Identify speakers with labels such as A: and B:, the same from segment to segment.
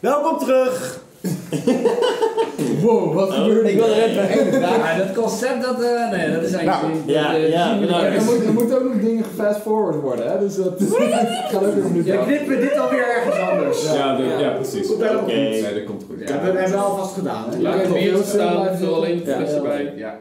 A: Welkom terug!
B: Wow, wat gebeurt
C: Ik
B: er?
C: wil eruit weg.
D: Ja, maar dat concept, dat, eh, nee, dat is eigenlijk... niet-
C: ja,
D: dat, eh,
C: ja,
D: zien we
C: nou,
D: niet.
B: Er moet- er moeten ook nog dingen gefast forward worden, hè? Dus dat gaat ook nog niet.
D: Ja, knippen we dit alweer ergens anders.
E: Ja, de- ja, precies.
A: Komt helemaal
C: Oké.
A: goed.
E: Nee, dat komt goed.
A: Ja, we hebben het alvast gedaan. Hè?
B: Laat
F: Laat
B: het
F: het
B: bier
F: bier
B: staan,
F: staan,
B: vul alleen
F: alleen
B: het
F: het
B: flesje bij.
F: bij. Ja.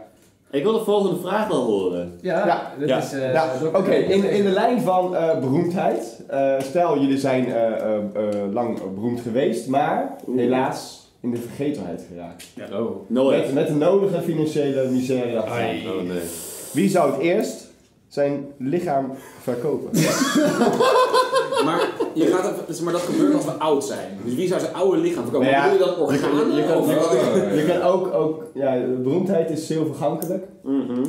C: Ik wil de volgende vraag wel horen.
D: Ja,
A: Ja.
D: dat
E: Ja.
D: is... eh,
A: Ja,
D: dat is ook-
A: Oké, in, in de lijn van eh, beroemdheid. Eh, stel, jullie zijn eh, eh, eh, lang beroemd geweest, maar helaas in de vergetelheid geraakt.
E: Oh.
C: Nooit.
A: Met, met de nodige financiële misère. achteraan.
C: Oh, nee.
A: Wie zou het eerst zijn lichaam verkopen?
F: Maar, je gaat even, zeg maar dat gebeurt als we oud zijn. Dus wie zou zijn oude lichaam verkopen?
A: Nou ja,
F: Bedoel je dat organen?
A: je kan-
F: of Oh. wat?
A: Je kan ook, ook ja, beroemdheid is zeer vergankelijk.
C: Mhm.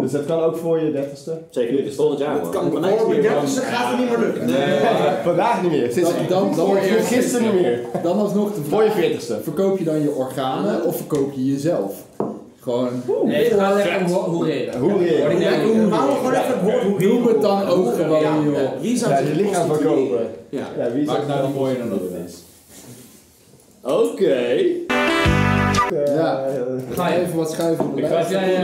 A: Dus dat kan ook voor je dertigste.
C: Zeker niet, het is volgend jaar
F: Dat
C: man.
F: kan
A: Oh,
F: vandaag niet meer.
A: ja,
F: want-
A: gaat het niet meer lukken.
F: Nee.
A: Vandaag niet meer. Sinds
B: Dan- dan- dan
A: voor je
B: eerst
A: gisteren niet meer.
B: Dan alsnog de
A: Voor je
B: vraag,
A: veertigste.
B: verkoop je dan je organen of verkoop je jezelf? Gewoon,
D: Nee, het gaat echt om ho- hoereren.
A: Hoe reageer je?
F: Ja,
A: Ja,
F: hoe- hoe-
B: noem het dan ook
F: Ja,
B: gewoon, joh.
F: ja. Wie zou
A: Ja,
F: zich
A: je lichaam
F: prostitueren?
A: verkopen.
F: Ja.
A: wie zou
B: Maakt nou niet mooier dan dat het is.
C: Oké.
A: Eh,
B: Ja.
A: eh,
B: Ga even wat schuiven op de
E: Ik ga
B: lijst.
E: het
D: Ja, ja, ja.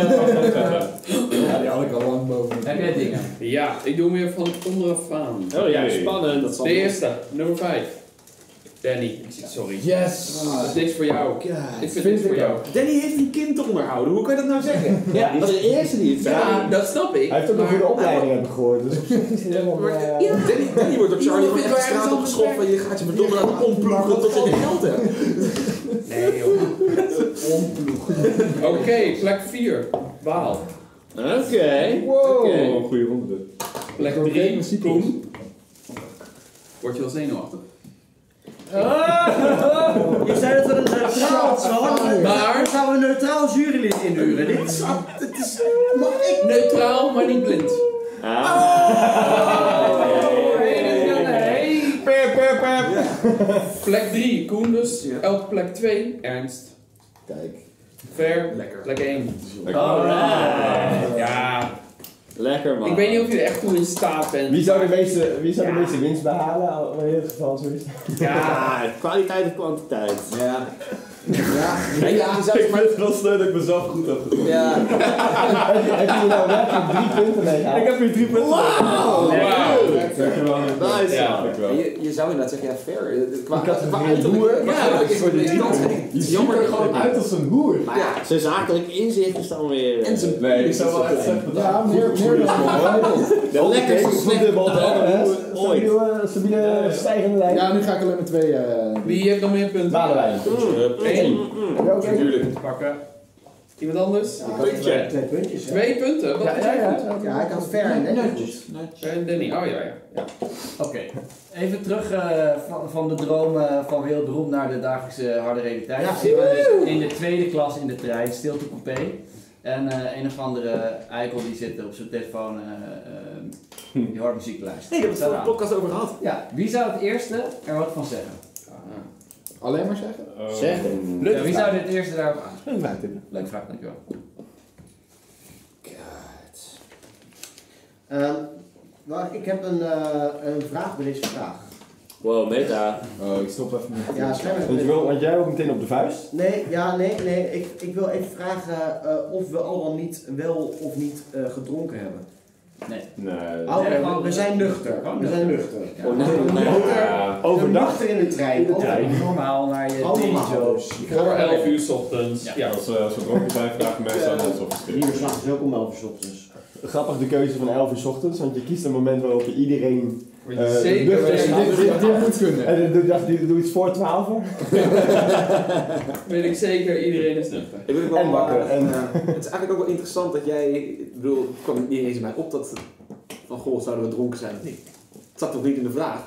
B: Ja, die had ik al lang boven.
D: Heb jij dingen?
F: Ja.
B: Ik doe meer van onderaf aan.
C: Oh ja,
E: Oké.
C: spannend. Dat zal
F: De
B: eerste, nummer 5.
F: Danny. Sorry.
B: Yes!
G: Ah,
F: Dit is voor jou.
B: Ik vind het voor jou.
F: Danny heeft een kind onderhouden. Hoe kan je dat nou zeggen?
C: Ja, dat is de eerste die het zei.
F: Ja, dat snap ik.
A: Hij heeft ook een
F: maar-
A: goede opleiding hebben gehoord, dus op zich is hij helemaal...
F: Maar,
A: eh,
F: ja. Danny, Danny wordt op Charlie
B: moet
F: gewoon echt de
B: ergens
F: straat
B: anders
F: opgeschopt van je gaat je verdomme laten omploegen tot je geld hebt.
D: Nee, joh.
G: Oké, plek 4. Waal.
C: Oké.
A: Wow.
C: Oké.
E: Oh, goede ronde.
G: Plek
B: Oké,
G: 3.
B: muziek.
G: Koen. Word je wel zenuwachtig?
D: Je zei dat we een neutraal zouden.
G: Maar-
D: zouden we een neutraal jurylid inhuren. Dit is... Dit is... Mag ik?
G: Neutraal, maar niet blind.
C: Ah,
G: Oh,
D: Nee.
A: Pep, pep, pep.
G: Plek 3, Koen dus.
F: Ja.
G: Elk plek 2, Ernst.
A: Kijk.
G: Ver.
F: Lekker.
G: Plek 1.
C: alright.
G: Ja.
C: Lekker man.
G: Ik weet niet of je er echt toe in staat bent.
A: Wie zou de meeste, wie zou de
G: Ja.
A: meeste winst behalen? Al- In ieder geval zoiets.
G: Ja.
C: Ja, kwaliteit of kwantiteit.
F: Ja. Ja. Ja. zelfs maar-
E: het wel sneu dat ik mezelf goed heb gedaan.
F: Ja.
A: heb, je- heb je nou werkelijk drie punten mee gehaald?
E: Ik heb hier drie punten.
C: Wauw!
G: Oh, Wauw.
E: Dankjewel.
C: Nice.
G: Ja.
E: Dankjewel.
F: En Je, je zou inderdaad zeggen, ja, fair. eh, Qua,
A: Ik had
F: qua
A: een
F: uiterlijk-
A: boer.
F: Ja,
A: Ja,
F: dat is
A: voor
F: voor
A: die
F: de kans.
A: Je ziet
F: Jammer
A: er
F: dat
A: gewoon uit als een hoer.
F: Maar ja,
C: Zijn zakelijk inzicht is dan weer... eh,
F: en zijn
E: Nee, ik zou wel echt zeggen dat
B: Ja, meer, meer dan
C: De lekkerste slechte
A: Dubbel,
C: bal
A: Ooit.
C: ooit.
A: Stabiele stijgende lijn.
B: Ja, nu ga ik alleen maar twee. eh
G: Wie heeft dan meer punten?
A: Malenwijn.
G: Eén.
A: Ja, oké.
F: natuurlijk.
G: Pakken. Iemand anders?
F: Puntje.
A: Twee puntjes. ja.
G: Twee punten. Wat
A: Ja,
G: is
A: ja,
G: jij
A: ja.
G: goed?
A: Ja,
B: hij kan ver en
A: netjes.
G: En Danny. Oh ja, ja. ja.
D: Oké. Even terug eh, van, van de droom eh, van heel beroemd naar de dagelijkse harde realiteit.
B: Ja,
D: We zitten dus in de tweede klas in de trein, stilte coupé. En eh, een of andere eikel die zit op zijn telefoon eh, eh, die hard muziek luistert.
F: Nee, daar hebben we het in de podcast over gehad.
D: Ja, wie zou het eerste er wat van zeggen?
B: Alleen maar zeggen?
C: Zeg.
D: Ja, wie zou dit eerste daarop aan?
A: Een vraagtip.
D: Leuk vraag, dankjewel.
H: Ehm, nou, ik heb een, eh, een vraag bij deze vraag.
C: Wow, meta.
B: Oh, ik stop even met
H: Ja, scherm is
A: Want je wil- Want jij ook meteen op de vuist?
H: Nee, ja, nee, nee. Ik, ik wil even vragen eh, of we allemaal niet wel of niet eh, gedronken hebben.
E: Nee.
H: Oh,
D: nee,
H: we,
D: gewoon-
H: we zijn nuchter. We zijn nuchter.
D: Ja.
C: Oh, nee, nee.
E: Ja.
A: Overdag?
H: Nuchter in de trein.
D: Ja, normaal naar je
H: Allemaal.
D: dayjob.
G: Voor 11 uur 's ochtends.
D: Ja.
G: Ja.
E: Als eh, als we dronken zijn, vragen mensen aan ons of het
H: Niet
E: schiet.
H: meer s'nachts, ook om 11 uur 's ochtends.
A: Grappig de keuze van 11 uur 's ochtends, want je kiest een moment waarop je iedereen.
G: Word je
A: eh,
G: zeker
A: nuchter is.
G: weet,
A: Dit- dit- dit-
B: Dit moet kunnen.
A: En dan dacht ik, doe iets voor 12 uur.
G: weet ik zeker, iedereen is nuchter.
F: Ik wil ook wel
A: En wakker, en-
F: Ja. het is eigenlijk ook wel interessant dat jij. Ik bedoel, het kwam niet eens bij mij op dat. Van goh, zouden we dronken zijn of niet? Het zat toch niet in de vraag?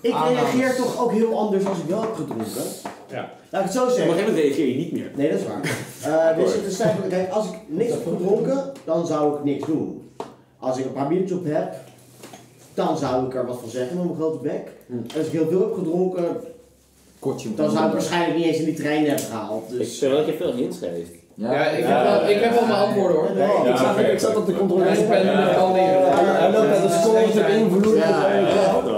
H: Ik
B: Aannames.
H: reageer toch ook heel anders als ik wel heb gedronken.
G: Ja.
H: Laat ik het zo
F: Op een
H: zeggen.
F: gegeven moment reageer je niet meer.
H: Nee, dat is waar. Eh dus het is eigenlijk, kijk, als ik niks heb gedronken, dan zou ik niks doen. Als ik een paar biertjes op heb, dan zou ik er wat van zeggen met mijn grote bek. En als ik heel veel heb gedronken,
B: Kotje moet
H: dan zou ik
B: onder.
H: waarschijnlijk niet eens in die trein hebben gehaald.
C: Ik
H: Dus
C: vind wel dat je veel hints geeft.
G: Ja, ik, heb wel, ik heb wel mijn antwoorden hoor.
H: Nee,
A: ik, zat,
E: oké.
A: ik zat op de controle.
G: Hij
E: eh,
G: spende het al neer.
A: Hij loopt met de scores op invloed.
H: Ja,
A: Ja,
C: hoor.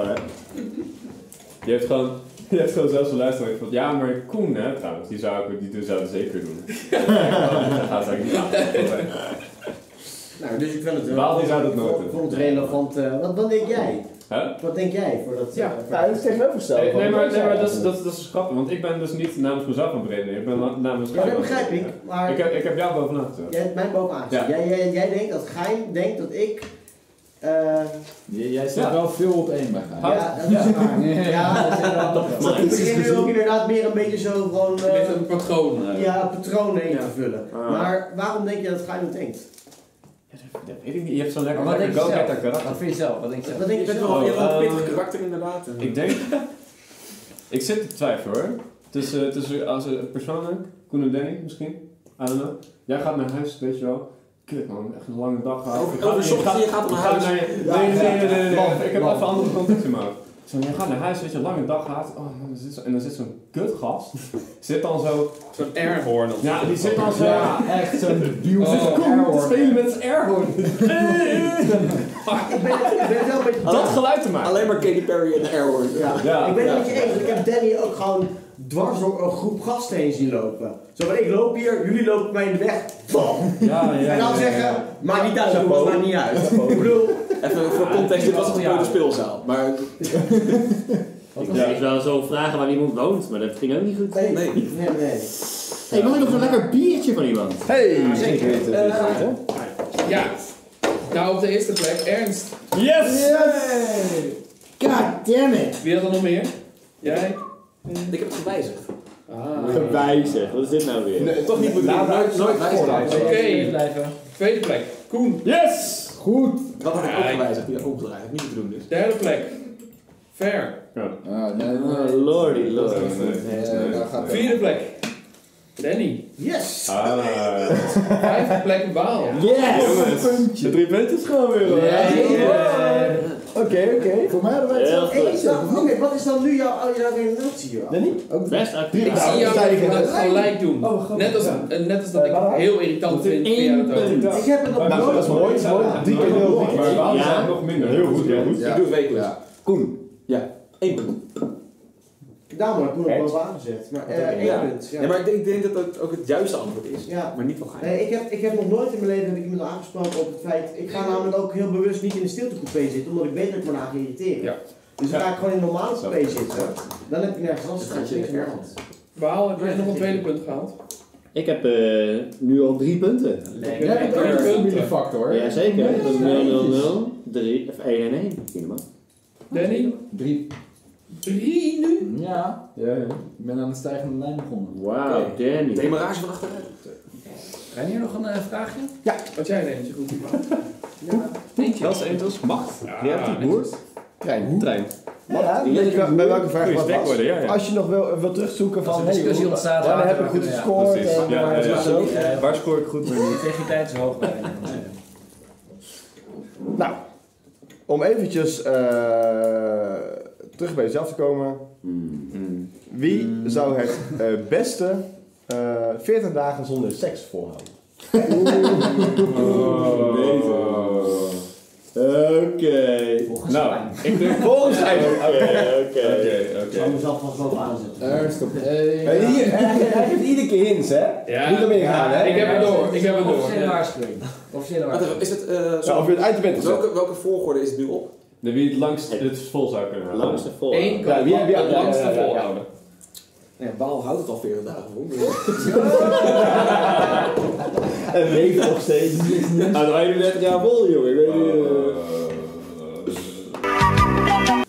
E: Je hebt hebt gewoon, je hebt gewoon zelfs een luisteraar van, ja, maar Koen, hè, trouwens, die zou ik, die doen- zou het zeker doen. Ja, dat gaat eigenlijk niet aan.
H: Nou, dus ik wil het wel.
E: Baal, die zou dat nooit
H: Ik
E: doen.
H: vond het relevant. eh, wat, wat denk jij?
E: Hè?
H: Wat denk jij voor dat? eh,
E: Ja,
H: voor-
A: Nou, dat is tegenovergesteld.
E: Nee, nee, maar, nee, maar dat, is, dat, is- dat is grappig, want ik ben dus niet namens mezelf aan het redeneren, ik ben la- namens
H: Ja, dat
E: Koen.
H: begrijp ik. Maar
E: Ik heb, ik heb jou bovenaan gezet.
H: jij hebt mij bovenaan gezet.
E: Ja.
H: Jij, jij, jij denkt dat Gein denkt dat ik. eh,
B: J- Jij zet
E: Ja.
B: wel veel op één bij Gaia.
H: ja, dat is waar. Ja, dat is wel.
C: Maar-
H: Ik begin nu ook inderdaad meer een beetje zo gewoon. eh,
G: Met een patroon. eh.
H: ja, patronen in te
G: Ja.
H: vullen.
E: Ah.
H: Maar waarom denk je dat Gein dat denkt?
E: Dat weet ik niet, je hebt zo'n lekker,
D: Maar wat
E: lekker
D: denk je
E: go-getter
D: zelf?
E: karakter.
D: Wat vind je zelf? Wat denk je zelf?
H: Dat denk
F: Je
H: ik
F: bent
H: zelf.
F: wel je hebt wel een
E: Eh,
F: pittig karakter inderdaad. en-
E: Ik denk. ik zit te twijfelen hoor. Tussen, tussen als eh, persoonlijk, Koen en Danny misschien. I don't know. Jij gaat naar huis, weet je wel. Kut man, echt een lange dag gehad.
F: Over-
E: Je gaat-
F: over
E: je
F: ochtend,
E: gaat-
F: Oh, dus je gaat naar
E: je
F: huis.
E: naar je- Nee, nee, nee, nee, nee, nee.
B: Man,
E: Ik heb
B: man.
E: even andere context in mijn hoofd. Ik zei, je gaat naar huis, weet je, een lange dag gehad. Oh, man, er zit zo- en dan zit zo'n kutgast. Zit dan zo.
G: Zo'n airhorn. of
E: Ja,
G: zo.
E: die zit dan zo.
B: echt zo'n duw.
G: Oh,
E: Zit Koen te spelen met zijn airhorn.
H: Ik ben het- ik ben het wel een beetje.
E: Dat geluid te maken.
F: Alleen maar Katy Perry en de Airhorn.
H: Ja.
E: Ja.
H: ik ben
F: Ja.
H: het met je eens, want ik heb Danny ook gewoon dwars door een groep gasten heen zien lopen. Zo van, ik loop hier, jullie lopen mij in de weg. Bam!
E: Ja, ja,
H: en dan
E: ja,
H: zeggen,
E: ja.
H: maakt niet uit, jongens, maakt niet uit. Ik bedoel,
F: Even voor context, dit was het gewoon de speelzaal. Maar
C: Ik dacht wel zo vragen waar iemand woont, maar dat ging ook niet goed.
H: nee,
F: Nee.
H: nee, nee.
C: Hé, mag ik nog een lekker biertje van iemand?
A: Hey, zeker weten.
G: Ja. Nou, op de eerste plek, Ernst.
E: Yes!
H: God damn it!
G: Wie had er nog meer? Jij?
F: ik heb het gewijzigd.
G: Ah.
C: Gewijzigd, wat is dit nou weer?
A: Nee, toch niet bedoeld.
F: Nooit, nooit wijzigd.
G: Oké.
D: Blijven.
G: Tweede plek, Koen.
E: Yes! Goed!
F: Dat had ik ook
G: Ja, ik-
F: gewijzigd. Die had omgedraaid. Niet te doen dus.
G: Derde plek, Ver.
B: Ah, nee,
C: Oh,
B: nee.
C: lordy, lordy.
B: Nee, daar gaat het.
G: Vierde plek, Danny.
H: Yes!
E: Ah,
G: Vijfde plek, Waal.
E: jongens. De drie punten is gewoon weer. hoor.
A: Oké, oké.
B: Voor mij hadden wij het
C: Heel
B: zelf
H: Hey, is
B: gezegd,
H: dat-
B: of
H: Oké,
B: niet?
H: wat is dan nu jouw jouw relatie hier?
A: Danny?
B: Ook
C: Best actief.
A: Nou,
G: Ik zie jou
A: Vijf.
G: dat gelijk doen.
A: Oh, goed.
G: Net als,
A: Ja.
G: eh, net als dat ik
A: Eh, waarom?
G: heel irritant
E: Dat is
G: vind. via het ook.
H: Ik heb het nog
E: Maar
A: Nou, dat
H: nooit
A: is mooi, dat is mooi. Drie keer nul, drie keer
E: Maar Waal
C: Ja.
E: zijn nog minder. Heel goed, heel goed.
B: Ja.
F: Ik doe het wekelijks.
B: Ja.
A: Koen.
F: Eén punt.
H: Daarom heb ik me nog
A: Echt?
H: wel aangezet. Maar eh, één
F: Ja.
H: punt. Ja.
F: Ja, maar ik denk, ik denk dat dat ook het juiste antwoord is.
H: Ja.
F: Maar niet van Gaia.
H: Nee, ik, heb, ik heb nog nooit in mijn leven dat ik iemand aangesproken op het feit. Ik ga namelijk ook heel bewust niet in de stiltecoupé zitten, omdat ik weet dat ik me aan ga irriteren.
G: Ja.
H: Dus dan ga ik gewoon in een normale coupé zitten. Dan heb ik nergens last
F: Dat
H: van.
F: gaat
H: is
F: je
H: niks meer aan.
F: ergens.
G: Waal, heb je nog een tweede punt gehaald?
C: Ik heb eh, nu al drie punten.
B: Jij hebt ook een familiefactor.
C: Jazeker, dat is
B: Nee.
C: 0, 0, 0, 3, of 1 en 1. Helemaal.
G: Danny?
B: Drie.
G: Drie nu?
B: Ja,
E: Ja, ja.
B: ik ben aan de stijgende lijn begonnen.
C: Wauw, Danny.
F: Demarage van achteruit.
D: Kan hier nog een eh, vraagje?
G: Wat jij neemt, je goed.
E: Hells Angels, macht.
G: Ja,
E: Je hebt die boer. Trein. Trein.
A: Ja, weet je wel- bij welke vraag
E: Goeie
A: wat
E: snack
A: was?
E: worden, ja, ja.
A: Als je nog wil, wil terugzoeken
D: Als
A: van...
D: er
A: hey,
D: discussie
A: hoe-
D: ontstaat,
A: Ja, dan
D: later
A: heb ik goed
D: kunnen we-
A: gescoord.
E: Precies.
A: en-
E: Ja, ja, ja.
A: Zo.
D: Eh,
E: Waar scoor ik goed mee?
D: Tegen die tijd is hoog bij.
A: Nou, om eventjes eh, terug bij jezelf te komen.
C: Hmm.
A: Wie zou het eh, beste eh, 40 dagen zonder seks volhouden?
F: Oh.
C: Oké.
E: Nou, ik denk...
A: Volgens mij.
C: Oké, oké.
E: Oké,
H: Ik zal
E: oké.
H: mezelf vast wel aanzetten.
A: Eh,
B: Ernst op één.
A: Hij geeft iedere keer hints, hè?
G: Ja.
A: Niet ermee gaan, hè?
G: Ik heb het door, ik heb het door.
D: Officiële
G: Ja.
D: waarschuwing. Officiële
F: Wacht even,
D: waarschuwing.
F: is het... eh,
A: Ja,
F: zo-
A: of je het uit je bed gezet.
F: welke, welke volgorde is het nu op?
E: De wie het langst het vol zou kunnen halen.
C: Langs de vol.
G: Eén
A: Ja,
G: kan
A: wie- wie-
G: het
A: ja,
G: langste
A: ja, ja, ja.
G: volhouden.
F: Ja, Baal houdt het al 40 dagen vol.
A: En leeft nog steeds.
C: Ah, dan waren jullie 30 jaar vol, jongen. Ik weet niet.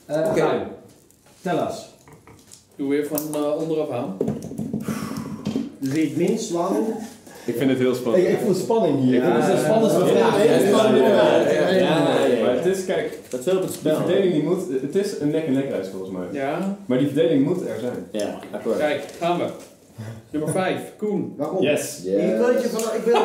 C: eh.
D: Eh,
F: Oké.
D: Gaim, Tel us.
G: Doe weer van eh, onderaf aan.
H: Dus wie het minst lang.
E: Ik vind het heel spannend.
A: Ik, ik voel spanning hier.
E: Ja,
A: Het is een
E: ja,
A: spannende
E: ja,
A: vraag.
E: ja, ja, ja,
C: ja,
E: ja,
C: ja, ja.
E: Maar het is, kijk,
C: Dat is heel op het
E: die
C: spel.
E: verdeling die moet... Het is een nek-en-nek race volgens mij.
G: Ja.
E: Maar die verdeling moet er zijn.
C: Ja, akkoord.
G: Kijk, gaan we. Nummer 5, Koen.
H: Waarom?
E: Yes.
H: Ik wil dat je van. Ik wil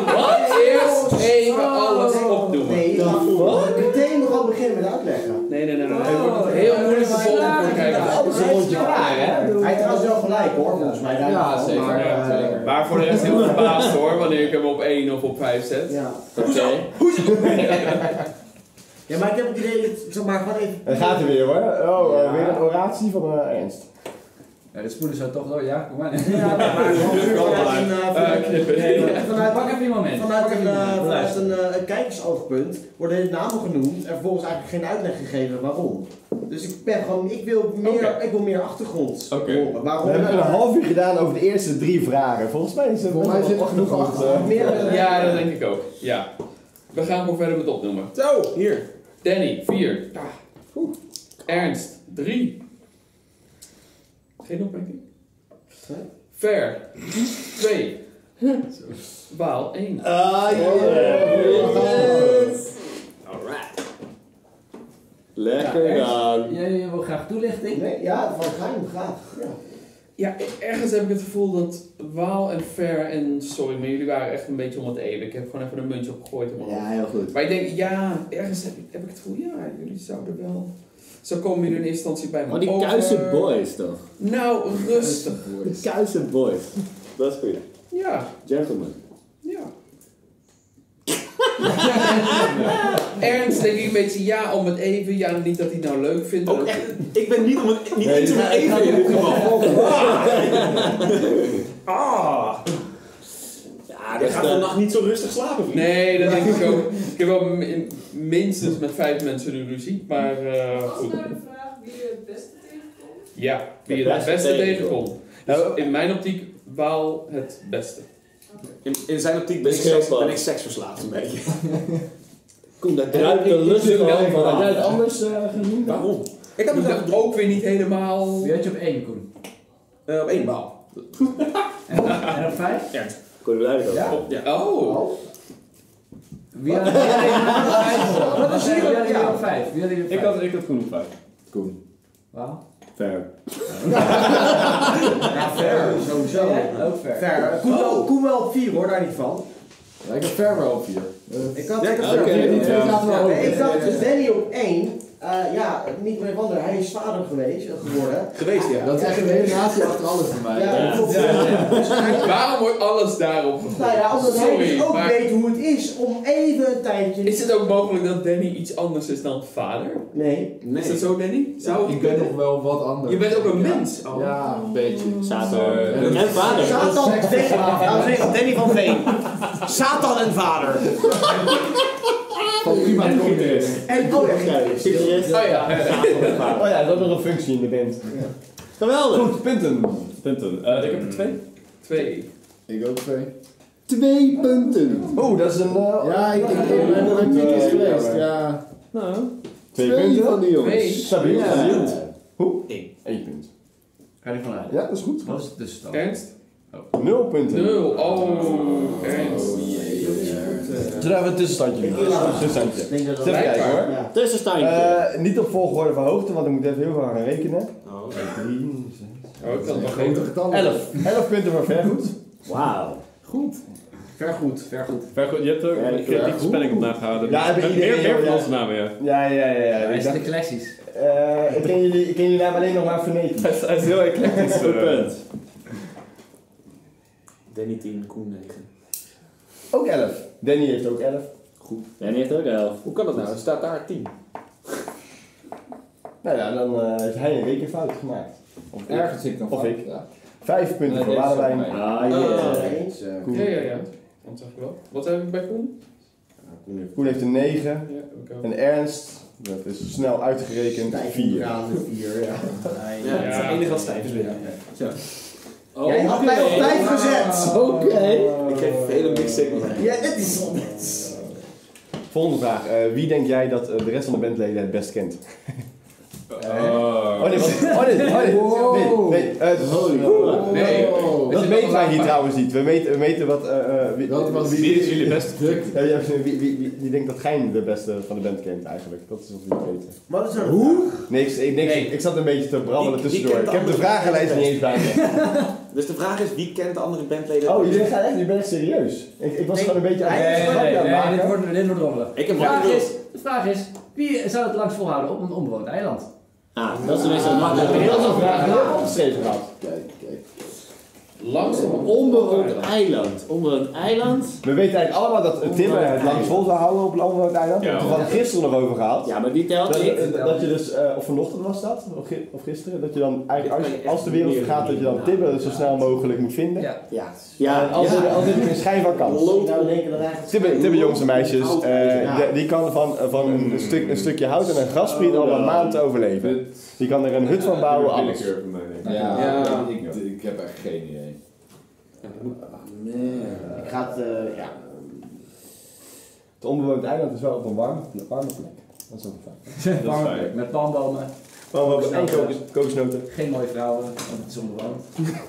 G: Eerst even alles opdoemen.
H: Nee, je mag meteen nog al beginnen met uitleggen.
G: Nee, nee, nee, nee. nee. Oh, Heel moeilijk vervolgen voor kijken.
H: Alles een rondje klaar, hè? Hij heeft trouwens wel gelijk, hoor, volgens mij. daar
B: Ja,
H: wel,
B: zeker.
H: Maar,
B: Ja,
H: eh,
B: zeker.
G: Maar voor de rest heel verbaasd hoor, wanneer ik hem op 1 of op 5 zet.
H: Ja.
C: Oké.
H: Ja, maar ik heb het idee, dat- zeg maar, gewoon even...
A: Daar gaat hij weer hoor. Oh, eh,
D: Ja.
A: weer een oratie van eh, Ernst.
D: Ja, de spoelen zou toch door, ja, kom maar.
H: Ja, maar gewoon puur vanuit een... eh, vanuit-
D: Nee,
H: Vanuit
D: Pak even je moment.
H: Vanuit
D: Pak
H: een,
D: even je
H: eh,
D: moment.
H: vanuit een eh, kijkersoogpunt worden de namen genoemd en vervolgens eigenlijk geen uitleg gegeven waarom. Dus ik ben gewoon, ik wil meer, ik wil meer achtergrond
E: Oké.
H: horen. Waarom?
A: We hebben een half uur gedaan over de eerste drie vragen. Volgens mij is er
B: Volgens mij
A: best wel
B: zit er genoeg
A: achtergrond,
B: achter.
A: eh.
H: Meer, eh,
G: Ja, dat denk ik ook. Ja. We gaan gewoon verder met opnoemen.
F: Zo, hier.
G: Danny, 4. Ernst, 3. Geen opmerking?
H: Huh?
G: Ver, 2. Waal, 1.
A: Ah,
F: Alright.
D: Ja,
A: Lekker
D: echt.
A: dan.
D: Jij wil graag toelichting?
H: Nee, ja, van geheim, graag. Ja.
G: Ja, ergens heb ik het gevoel dat Waal en Ver en... Sorry, maar jullie waren echt een beetje om het even. Ik heb gewoon even een muntje opgegooid. in mijn hand.
H: Ja, heel goed.
G: Maar ik denk, ja, ergens heb ik, heb ik het gevoel, ja, jullie zouden wel... Zo komen jullie in eerste instantie bij me
C: Oh, die
G: over.
C: kuise boys toch?
G: Nou, rustig.
C: De kuise boys.
F: Dat is goed.
G: Ja.
C: Gentlemen.
G: Ja. Ernst denk ik een beetje ja om het even. Ja, niet dat hij het nou leuk vindt.
F: Ook echt, ik ben niet om het, niet eens om het even in dit geval. Ah! Ja, dat
C: eh,
F: gaat vannacht niet zo rustig slapen, vriend.
G: Nee, dat denk ik ook. Ik heb wel min- minstens met vijf mensen nu ruzie. Maar eh,
I: Als
G: goed.
I: nou de vraag wie je het beste tegenkomt.
G: Ja, wie je het beste tegenkomt. Dus in mijn optiek Waal het beste.
F: In, in zijn optiek ben ik,
C: Ik heel
F: seks,
C: plat.
F: ben ik seksverslaafd een beetje.
C: Kom, dat ruikt de lust
A: Ik- ik-
C: gewoon
A: ik-
C: van
A: ik-
C: aan.
A: anders eh, genoemd?
F: Waarom? Ik heb
G: Ik
F: het wel
G: dacht ook weer niet helemaal...
D: Wie had je op één, Koen?
F: eh, op één baal.
D: En op vijf?
C: Kon je blijven
H: Ja.
F: Op- ja.
G: Oh,
D: Wie had je
H: Wat is hier-
D: op vijf? Wie had je op
E: Ik
D: vijf?
E: had, ik had Koen op vijf.
D: Wauw.
C: Ver.
H: Ja, ver, sowieso.
D: Jij? Ook ver. Oh.
H: Ver. Koen wel- Koen wel op 4 hoor, daar niet van.
B: Ja, ik heb Fairwell op vier.
H: Ik had
F: Ja, ik heb
H: Ver-
F: Oké,
B: Die twee zaten wel
H: Ja,
B: over.
H: nee, ik dacht dus Danny op 1. ja, niet meer wonder, hij is vader geweest, eh, geworden.
F: Geweest, ja.
B: Dat is echt een hele natie achter alles voor mij.
H: Ja, klopt.
G: waarom wordt alles daarop
H: Nou ja,
G: gegooid?
H: omdat hij
G: Sorry,
H: dus ook
G: maar
H: weet hoe het is om even een tijdje...
G: is het ook mogelijk dat Danny iets anders is dan vader?
H: Nee.
G: Is dat zo, Danny? Zou
B: Ik ben nog wel wat anders.
G: Je bent ook een mens. Oh.
B: Ja, een beetje.
C: Sato.
B: Eh,
C: En vader.
H: Satan en Veen. Dames en heren, Danny van Veen. Satan en vader.
B: Van prima
E: En
B: kom
E: gitarist.
H: En oh ja,
C: Serieus?
G: Oh ja.
A: Oh ja, dat is ook nog een functie in de band.
C: Geweldig.
E: Goed, punten. Punten. Eh, ik heb er twee.
G: Twee.
B: Ik ook twee.
C: Twee punten.
A: Oeh, dat is een... eh,
B: Ja, ik, ik, ik ben nog niet eens geweest. Ja.
E: Nou.
A: twee
C: Twee
A: punten.
C: van die jongens.
G: Twee.
A: Stabiel.
C: Ja.
A: stabiel. Hoe?
F: Eén.
A: Eén punt.
D: Ga er vanuit.
A: Ja, dat is goed.
D: Wat is de tussenstand?
G: Ernst?
A: Nul punten.
G: Nul. Oh, Ernst.
A: Zullen we even een tussenstandje doen?
H: Ja.
A: Tussenstandje.
H: denk dat
A: Eens Even kijken hoor.
H: Ja.
C: Tussenstandje.
A: Eh, niet op volgorde van hoogte, want ik moet even heel veel gaan rekenen.
F: Oh.
G: Oh, ik had het nog
B: Grote
G: even.
B: getallen.
A: 11. 11 punten voor Vergoed.
C: Wauw.
D: Ver goed, ver goed.
E: Ver goed, je hebt ook.
C: Ja,
E: ik heb niet de spelling op nagehouden.
A: Ja, hebben
E: Met
A: iedereen,
E: meer meer
A: joh,
E: van
A: ja.
E: onze namen, ja.
A: Ja, ja, ja. ja.
D: Hij
A: Ik,
D: is de
A: dacht,
D: classics.
A: eh, ik ken jullie, ik ken jullie naam alleen nog maar fonetisch.
E: Hij is, hij is heel eclectisch.
C: Goed
E: eh.
C: punt.
F: Danny 10, Koen 9.
A: Ook 11. Danny heeft ook 11.
C: Danny heeft ook elf.
F: Hoe kan dat nou? Er staat daar 10.
A: Nou ja, dan eh, heeft hij een rekenfout gemaakt. Of
B: Ergens zit ik dan
A: Of
B: fout,
A: ik.
B: ja.
A: Vijf punten
B: Nee,
A: voor
B: deze is
A: Walenwijn.
B: van mij.
C: Ah,
H: Ja,
C: yeah.
H: eens.
A: Koen.
G: Ja, ja, ja. Dat zag ik wel. Wat heb ik bij Koen?
A: Koen heeft een 9.
G: Ja, heb ik ook.
A: En Ernst, dat is snel uitgerekend, 4.
H: Ja, de vier, ja.
F: Ja, het is het enige wat stijf is weer.
H: Oh, Jij had mij op vijf gezet.
C: Oké.
F: Ik geef hele niks signalen.
H: Ja, dit is net.
A: Volgende vraag. Eh, wie denk jij dat eh, de rest van de bandleden het best kent?
E: Oh.
A: Oh nee, wat- oh nee, oh nee.
B: Wow.
A: Nee, nee. eh,
G: Nee.
B: Oh.
A: dat
G: is
A: weten
G: wel
A: wij hier
G: waar.
A: trouwens niet. We weten, we weten wat... eh, eh, wie,
B: Dat was
E: Wie is jullie beste
B: druk.
A: Ja, ja, wie, wie, wie, wie denkt dat Gein de beste van de band kent eigenlijk? Dat is wat we niet weten.
H: Wat is er? Hoe?
A: Niks, ik, niks,
G: Nee.
A: ik zat een beetje te brabbelen
F: Die- die
A: tussendoor.
F: kent
A: Ik
F: de
A: heb de
F: andere
A: vragenlijst niet
F: bandleden
A: eens bij me.
F: Dus de vraag is, wie kent de andere bandleden?
A: Oh, jullie gaan echt, jullie bent echt serieus. Ik, ik was
H: Nee.
A: gewoon een beetje aan
H: Nee,
A: het grapje aan het maken.
D: dit wordt, dit wordt rommelig.
F: Ik
D: De
F: heb
D: vraag,
F: wel-
D: is, de vraag is, wie zou het langst volhouden op een onbewoond eiland?
C: Ah, dat is tenminste een
A: Ik heb
C: makkelijke.
A: heel veel vragen heel opgeschreven gehad.
B: Kijk, kijk.
G: Langzaam
C: Onbewoond
G: opeilen.
C: eiland. Onbewoond eiland.
A: We weten eigenlijk allemaal dat Tim het langs vol zou houden op een ander eiland.
E: Ja.
A: Want we hadden gisteren nog over gehad.
C: Ja, maar die telt
A: Dat,
C: niet.
A: dat je dus, eh, of vanochtend was dat, of, gi- of gisteren, dat je dan eigenlijk als, als de wereld vergaat, dat je dan Tim zo snel mogelijk moet vinden.
D: Ja.
C: Ja.
A: En
C: Ja.
A: als er als er een schijn van kans.
H: Ik zou Nou, denken dat eigenlijk...
A: Tibbe, Tibbe jongens en meisjes,
H: Oud
A: eh,
H: ijzer, ja.
A: de- die kan van, eh, van een, stuk, een stukje hout en een graspriet al een maand overleven.
E: Dit-
A: Die kan er een hut van bouwen,
E: dit is
A: alles.
E: een willekeur van mij, denk ik.
J: Ja,
B: Ja.
J: Ik, ik, ik heb echt geen idee.
H: Ah, Ik ga het, eh, ja.
A: Het onbewoond eiland is wel op een warme, warme plek. Dat is ook fijn.
E: Dat is
D: Warme plek
E: fijn.
D: met palmbomen,
A: Maar we hebben één kokos- kokosnoten.
D: geen mooie vrouwen, want het is onbewoond.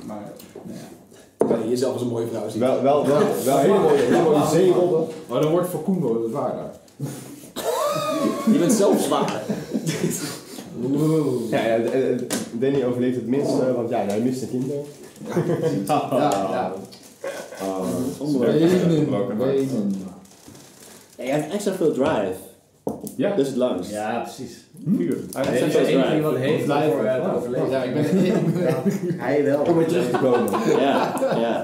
D: Maar nou ja.
F: Kan je jezelf als een mooie vrouw zien?
A: Wel, wel, wel, wel hele mooie, hele mooie zeerobben.
J: Maar dan wordt voor Koenbo het waar daar.
F: Je bent zelf zwaar.
A: Ja, ja, eh, eh, Danny overleeft het minste, want ja, hij mist de kinderen.
J: Ja, ja. Wenen, wenen.
C: Ja, jij hebt extra veel drive.
E: Ja.
C: Dus het langst.
D: Ja, precies.
C: Ja,
D: Het is
C: dat
D: de
C: is
D: enige
C: waar.
D: die wat heeft voor eh, het overleven.
J: Ja, ik ben
H: Hij wel.
A: Om weer terug te komen.
C: Ja, ja.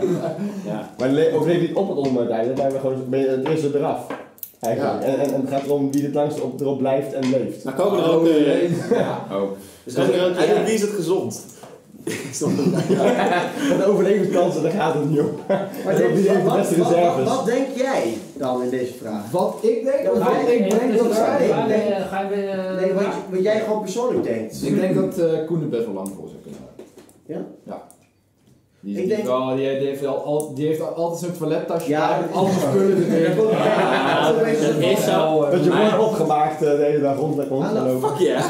C: ja.
A: Maar le- overleeft niet op het onbewoond eiland, dan zijn we gewoon, ben je- het is er eraf. Eigenlijk. En, en, en het gaat erom wie het langst op, erop blijft en leeft.
C: Maar komen er ook... eh,
E: Oh.
F: Dus
C: Kan er ook-
F: eigenlijk,
C: ja.
F: wie is het gezond? Snap je?
A: De overlevingskansen, daar gaat het niet om.
H: Maar
A: En op die
H: Tim,
A: heeft de
H: wat-
A: beste
H: wat- wat-
A: reserves.
H: Wat denk jij dan in deze vraag?
J: Wat ik denk?
H: Ja,
J: of
H: maar
J: wat
H: hij-
J: ik denk dat zij
H: hij-
J: denkt?
H: Ga je weer-
D: ga je weer...
H: Nee, wat, je- wat jij gewoon persoonlijk denkt.
J: Ik denk dat eh, Koen het best wel lang voor zou kunnen houden.
H: Ja?
J: Ja. Die,
H: Ik
J: die,
H: denk-
J: wel, die, die heeft al, al, die heeft al altijd zo'n toilettasje
H: Ja,
J: ja,
H: dat
J: met
H: is
J: alle
H: waar.
J: spullen
H: Ja,
J: erin.
H: dat-
C: Ah,
H: dat is
C: dat
H: een
C: is zo.
D: Oh,
J: Wel, eh,
A: Dat je
C: Maar-
A: wordt opgemaakt eh, de hele dag rond en rond
H: Ah, nou,
A: gelopen.
C: Fuck ja.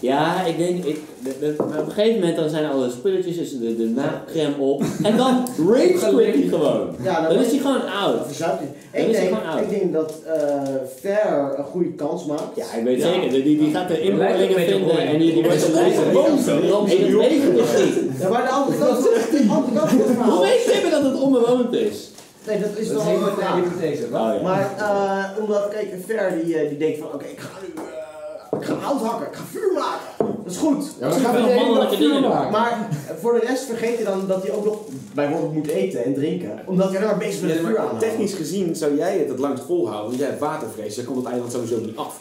C: Ja, ik denk... Ik, de- de- maar op een gegeven moment dan zijn alle spulletjes, dus de, de naakcreme op. En dan rage quit hij gewoon.
H: Ja,
C: Dan is
H: dat
C: hij gewoon oud. is
H: Ik
C: hij
H: denk,
C: gewoon oud.
H: ik denk dat eh Fer een goede kans maakt.
C: Ja, ik weet zeker. Die, die gaat de inboorlingen
D: beetje op
C: vinden
D: Roy.
C: en die, die wordt
H: Ja,
C: een
H: dat is
C: lijst
H: een
C: boos.
H: beetje op
C: En dat weet ik dus niet.
H: Ja, maar de andere kant van de andere kant van het verhaal.
C: Hoe weet Tim dat het onbewoond is?
H: Nee, dat is
D: Dat is
H: wel
D: een
H: een
D: hypothese,
H: vraag.
D: hypothese. wat?
C: Oh, ja.
H: Maar eh, omdat, kijk, Fer die, eh, die denkt van, oké, ik ga nu, eh, ik ga hout hakken, ik ga vuur maken. Dat is goed.
J: Ja, maar dan gaan we
C: wel
J: de hele dag
C: mannelijke
J: vuur
C: dingen.
J: maken.
H: Maar eh, voor de rest vergeet hij dan dat hij ook nog bijvoorbeeld moet eten en drinken. Omdat hij daar bezig is met
F: Ja,
H: het vuur
F: maar
H: aan.
F: technisch gezien zou jij het het langst volhouden, want jij hebt watervrees, dan komt het eiland sowieso niet af.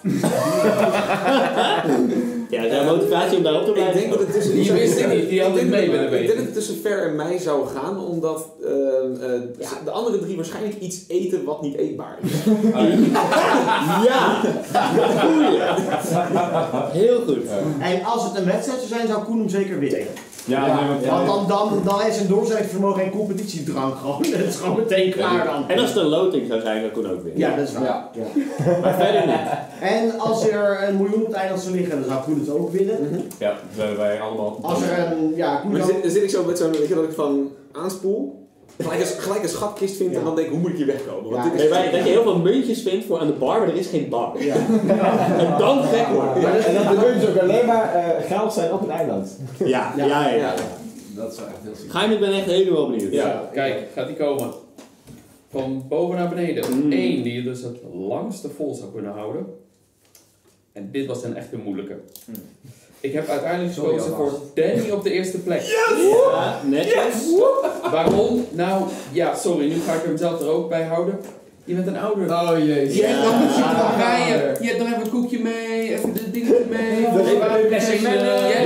C: Ja, zijn motivatie om daarop te
F: Ik
C: blijven.
F: denk dat het tussen
G: Die wist ik niet, die had ik mee willen
F: Ik denk dat
G: weten.
F: het tussen Fer en mij zou gaan, omdat ehm, eh, de andere drie waarschijnlijk iets eten wat niet eetbaar is.
C: Ja! Goeie! Heel goed.
H: En als het een wedstrijd zou zijn, zou Koen hem zeker winnen.
E: Ja, nee, want
H: Want dan, dan, dan is zijn doorzettingsvermogen geen competitiedrang gewoon. Dat is gewoon meteen klaar dan.
C: En als het een loting zou zijn, dan kon ook weer.
H: Ja, dat is waar.
J: Ja.
H: Ja.
C: Maar verder niet.
H: En als er een miljoen op het eiland zou liggen, dan zou Koen het ook winnen.
E: Ja, dat hebben wij allemaal.
H: Als er een, ja, Koen
F: Maar dan
H: zou-
F: zit, dan zit ik zo met zo'n, weet je dat ik van aanspoel, gelijk een, gelijk een schatkist vind en dan denk ik, hoe moet ik hier wegkomen? Want
H: Ja.
F: dit is
C: Nee, wij, dat je heel veel muntjes vindt voor aan de bar, maar er is geen bar.
H: Ja.
C: En dan gek worden.
A: Maar dat- en dat betekent ook alleen maar eh geld zijn op het eiland.
C: Ja, ja, ja. ja.
J: Dat zou echt heel ziek
C: Ga je, ik ben echt helemaal benieuwd.
G: Ja, kijk, gaat die komen. Van boven naar beneden.
C: Mm.
G: Eén die je dus het langste vol zou kunnen houden. En dit was dan echt een moeilijke. Ik heb uiteindelijk
J: Sorry,
G: gekozen voor
J: alvast.
G: Danny op de eerste plek.
C: Ja, netjes.
G: Waarom? Nou, ja, sorry, nu ga ik hem zelf er ook bij houden. Je bent een ouder.
J: Oh jezus.
G: Je hebt dan moet je
J: Ja.
G: gaan rijden. Je hebt dan even een koekje mee, even de dingetje mee.
J: Dat is waar.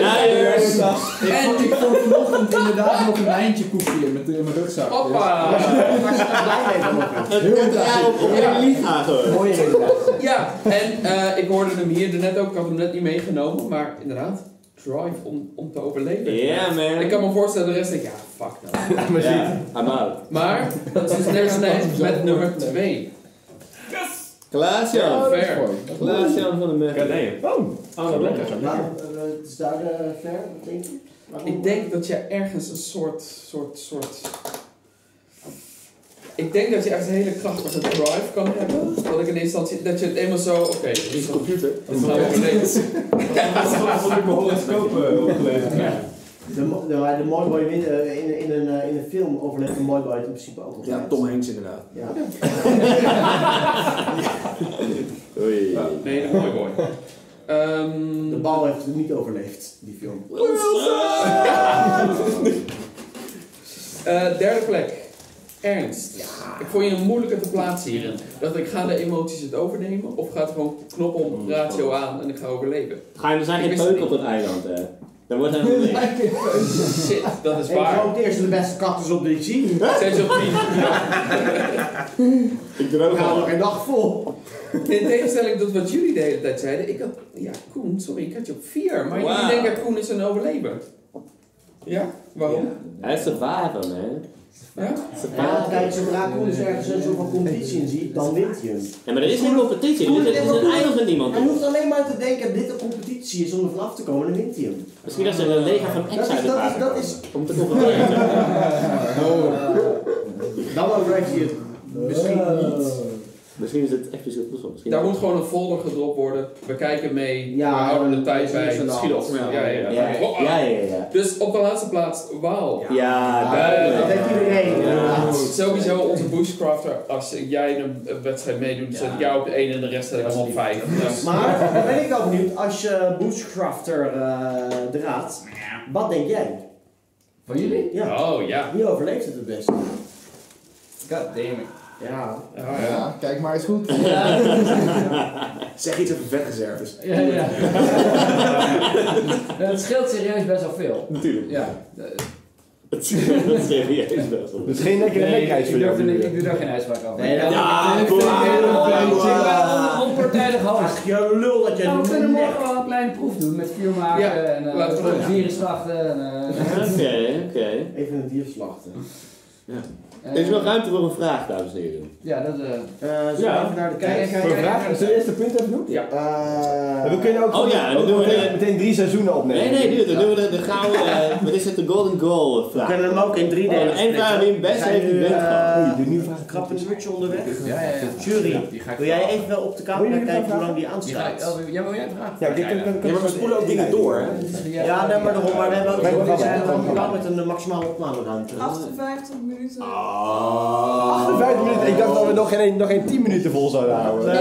C: Leiders.
G: eh,
J: Ik vond- ik vond vanochtend inderdaad nog een eindje koekje in mijn, in mijn rugzak. dus-
G: Papa!
H: Waar zou blij mee worden?
C: Het komt daarop op
J: Ja.
C: een liga gewoon.
J: Mooie inderdaad.
G: Ja, en eh, ik hoorde hem hier net ook, ik had hem net niet meegenomen, maar inderdaad, drive om, om te overleven.
C: Ja, man.
G: Ik kan me voorstellen, de rest denk ik, ja, fuck nou.
C: Ja, I'm out.
G: Maar, dat is dus net als net met nummer 2.
J: Oh,
C: Klaas-Jan.
G: Ver.
A: Oh,
C: Klaas-Jan van de Merwe.
E: nee.
H: Waarom, eh, Het is daar eh, ver, wat denk je? Waarom-
G: Ik denk dat je ergens een soort, soort, soort... Ik denk dat je echt een hele krachtige drive kan hebben. Dat ik in instantie, dat je het eenmaal zo, oké, dit is een computer. Dit gaan we overleven.
H: De, mo- de, maar de mooi boy win, eh, in, in, een, eh, in een film overleeft de mooi boy het in principe ook nog.
F: Ja, Tom Hanks inderdaad.
H: Ja.
C: Oei.
G: Nee, dat is mooi mooi. Ehm,
H: De bal heeft het niet overleefd, die film.
C: Wilson!
G: Eh, derde plek. Ernst. Ik vond je een moeilijke te plaatsen hierin. Dacht ik, ga de emoties het overnemen of gaat gewoon knop om, ratio aan en ik ga overleven.
C: Ga je, er zijn
G: Ik
C: geen
G: wist het
C: peuken op
G: niet.
C: dat eiland, hè? Daar wordt helemaal niks.
G: Shit, dat is
H: Ik
G: waar.
H: hou de eerste de beste cactus op die ik zie. Ik
G: 6 op 10.
C: Ik droog
H: hou
C: al.
H: nog geen dag vol.
G: In tegenstelling tot wat jullie de hele tijd zeiden, ik had, ja Koen, sorry, ik had je op 4. Maar
C: Wauw.
G: jullie denken Koen is een overlever. Ja, waarom?
C: Hij is een wapen, man.
G: Ja?
H: Ja, kijk, zodra Koen is ergens een soort van competitie in ziet, dan wint hij hem.
C: Ja, maar er is geen competitie.
H: Koen-
C: Er is
H: Koen-
C: een eiland met niemand
H: Hij
C: op.
H: hoeft alleen maar te denken dat dit een competitie is om er vanaf te komen, dan wint hij hem.
C: Misschien dat ze een leger van
H: Dat
C: ex
H: is,
C: uit het
H: dat is,
C: water
H: dat
C: komen.
H: is,
C: Om te concurreren.
H: Oh. dan overrijdt hij het misschien niet.
C: Misschien is het echt een zielpuzzel. Misschien
G: Daar moet gewoon een folder gedropt worden. We kijken mee,
H: Ja,
G: we houden de tijd
H: dat is
G: bij,
H: niks aan de
G: schiet
H: hand.
G: op. Ja, ja, ja.
C: Ja,
G: Oh,
C: ja, ja. ja.
G: Dus op de laatste plaats, wauw.
C: Ja,
H: Dat
C: duidelijk.
H: heeft iedereen. inderdaad.
G: Sowieso onze bushcrafter, als jij een wedstrijd meedoet, zet ik jou op de 1 en de rest zet ik hem op 5.
H: Maar dan ben ik wel benieuwd, als je Bushcrafter eh raadt, wat denk jij?
D: Van jullie?
H: Ja,
G: Oh ja.
H: wie overleeft het het beste?
D: God damn it.
H: Ja.
G: Ja, ja.
B: Ja, kijk maar eens goed.
F: Zeg iets over vetreserves.
D: Ja, ja. Ja, Het scheelt serieus best wel veel. Natuurlijk. Ja.
C: Dat is serieus best wel.
A: Dus geen nek in de
D: Nee,
A: nek
D: ik,
A: ijs voor
D: ik,
A: jou.
D: durf er niet-
A: nu.
D: ik doe daar geen uitspraak over.
F: Nee, dat
C: Ja, kom
D: Ik ben een onpartijdig hoofd.
H: Ach, je lul dat jij
D: Ja, we kunnen
H: niet
D: morgen wel een kleine proef doen met vuur maken
G: Ja,
D: en eh
G: laten we doen, ja.
D: virusslachten. En, eh,
C: Oké, oké.
H: Even een dier slachten.
C: Er is nog ruimte voor een vraag, dames en heren.
D: Ja, dat eh
H: Eh, zullen we
C: Ja.
H: even naar de
D: Kijk,
H: kijkers?
D: kijk,
A: Voor
D: kijk.
A: vraag, zullen we eerst de punten even doen?
H: Eh,
A: En we kunnen ook,
C: Oh ja, dan
A: ook
C: doen we
A: meteen,
C: de-
A: meteen drie seizoenen
C: Nee,
A: opnemen.
C: nee, duur. Dan doen we de, de gouden. eh, wat is het? De Golden Goal
H: we
C: vraag.
H: kunnen hem ook in drie
C: Oh,
H: delen
C: en waar wie
H: splitsen.
C: hem best
H: Zijn
C: heeft, die
H: nu,
C: bent
H: eh,
A: Oei, de nieuwe vraag.
H: Krap een uurtje onderweg.
D: ja, ja, ja.
H: Jury,
D: Die ga ik
H: wil jij even wel op de
A: Wil
H: camera
A: je
H: kijken
A: vragen?
H: hoe lang die
D: Die ga ik.
H: aanstaat?
D: Oh, jij wil jij vragen?
A: Ja, dit kan, kan, kan
F: Ja, maar we spoelen ook dingen door, hè?
H: Ja, nee, maar daarom, maar we hebben ook
A: Wij
H: we
A: programma,
H: zijn wel
A: programma.
H: gedaan met een maximale opnameruimte. Eh,
I: 58 minuten.
A: 58 Ah. minuten, ik dacht dat we nog geen, nog geen 10 minuten vol zouden houden.
H: Eh,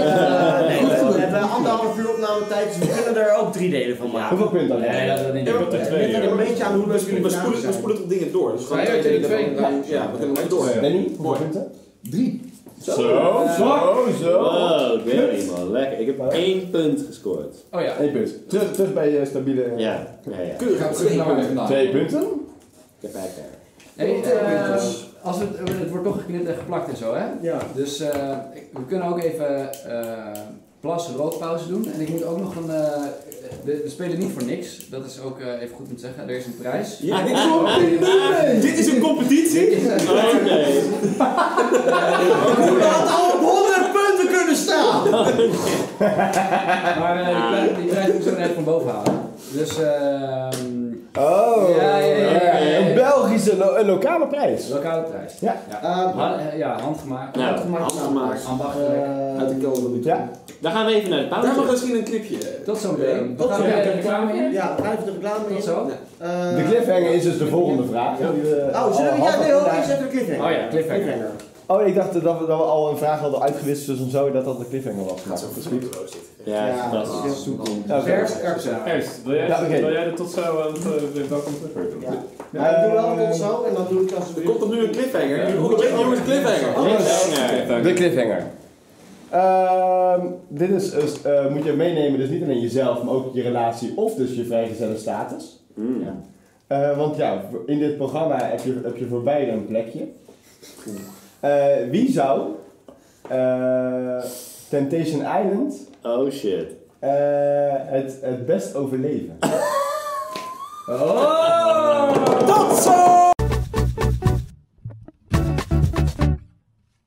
H: nee, we we hebben anderhalf uur opnametijd, dus we kunnen er ook drie delen van maken.
A: Hoeveel punten dan?
D: Nee, dat is niet.
F: Ja,
E: Dat
F: maar-
E: is
H: Het ligt er een
E: twee,
H: beetje aan hoe
F: We
H: leuk jullie
F: spoelen, we spoelen, we spoelen toch dingen door. Dus gewoon
G: Ja, ja,
F: twee
G: twee,
F: dingen
G: twee.
F: ervan. Ja, we kunnen hem door.
A: Danny, hoeveel punten?
B: Drie.
E: Zo, zo, zo.
C: Wow, Oh, oké, man. Lekker. Ik heb één punt gescoord.
D: Oh ja.
A: 1 punt. Terug, terug bij je stabiele... eh,
C: Ja, ja, ja.
B: Ik ga terug
F: nou,
B: naar mij vandaan.
A: Twee punten?
C: Ik heb eigenlijk.
D: Hey, eh, als we, het- het wordt toch geknipt en geplakt en zo, hè?
H: Ja.
D: Dus eh, ik- we kunnen ook even eh plas rookpauze doen. En ik moet ook nog een. eh, we, we spelen niet voor niks. Dat is ook eh, even goed om te zeggen. Er is een prijs.
F: Ja, dit, is dit is een competitie.
C: Oké.
H: We hadden al op 100 punten kunnen staan!
D: Maar eh, die, prijs, die prijs moet ik zo net van boven halen. Dus ehm
A: Oh,
D: Ja, ja, ja, ja, ja.
A: een Belgische lo- een lokale prijs.
D: lokale prijs.
A: Ja.
H: Ehm,
D: Ha- eh, ja, handgemaakt.
C: Nou,
F: Afgemaakt.
D: Ambachtelijk.
H: eh,
F: Uit de kelder. doet.
A: Ja.
C: Dan gaan we even naar de
F: Daar mag
C: pauze.
F: misschien een clipje.
D: Tot zometeen.
H: tot
D: we gaan
H: zo.
D: weer de reclame in.
H: eh, Ja, we gaan even de reclame in.
D: Tot zo.
H: Eh,
A: De cliffhanger is dus de volgende vraag. Die we-
H: Oh, zullen we?
A: al
H: Ja,
A: hadden
H: nee hoor,
A: vandaag.
H: eerst even de cliffhanger.
D: Oh ja, cliffhanger.
H: Cliffhanger.
A: Oh, ik dacht dat we, dat we al een vraag hadden uitgewisseld dus en zo, dat dat de cliffhanger was.
F: Gaat zo
A: misschien.
F: verschrikkelijk dit.
C: Ja, is fantastisch.
H: heel
A: Ja, oké.
H: Vers erza.
E: Ernst, wil jij,
A: Ja, oké.
E: wil jij er tot zo aan het uh, welkom terug doen?
H: Ja. Ja, ik doe wel tot zo en dan doe ik als
F: Er
H: we
F: komt toch nu een cliffhanger? Nu komt er een cliffhanger.
C: Cliffhanger.
A: De cliffhanger. Ehm, dit is, dus, eh, moet je meenemen, dus niet alleen jezelf, maar ook je relatie of dus je vrijgezelle status.
C: Mm.
A: Eh, want ja, in dit programma heb je, heb je voor beide een plekje. Eh, wie zou eh, Temptation Island
C: Oh shit.
A: eh, het, het best overleven?
D: Oh!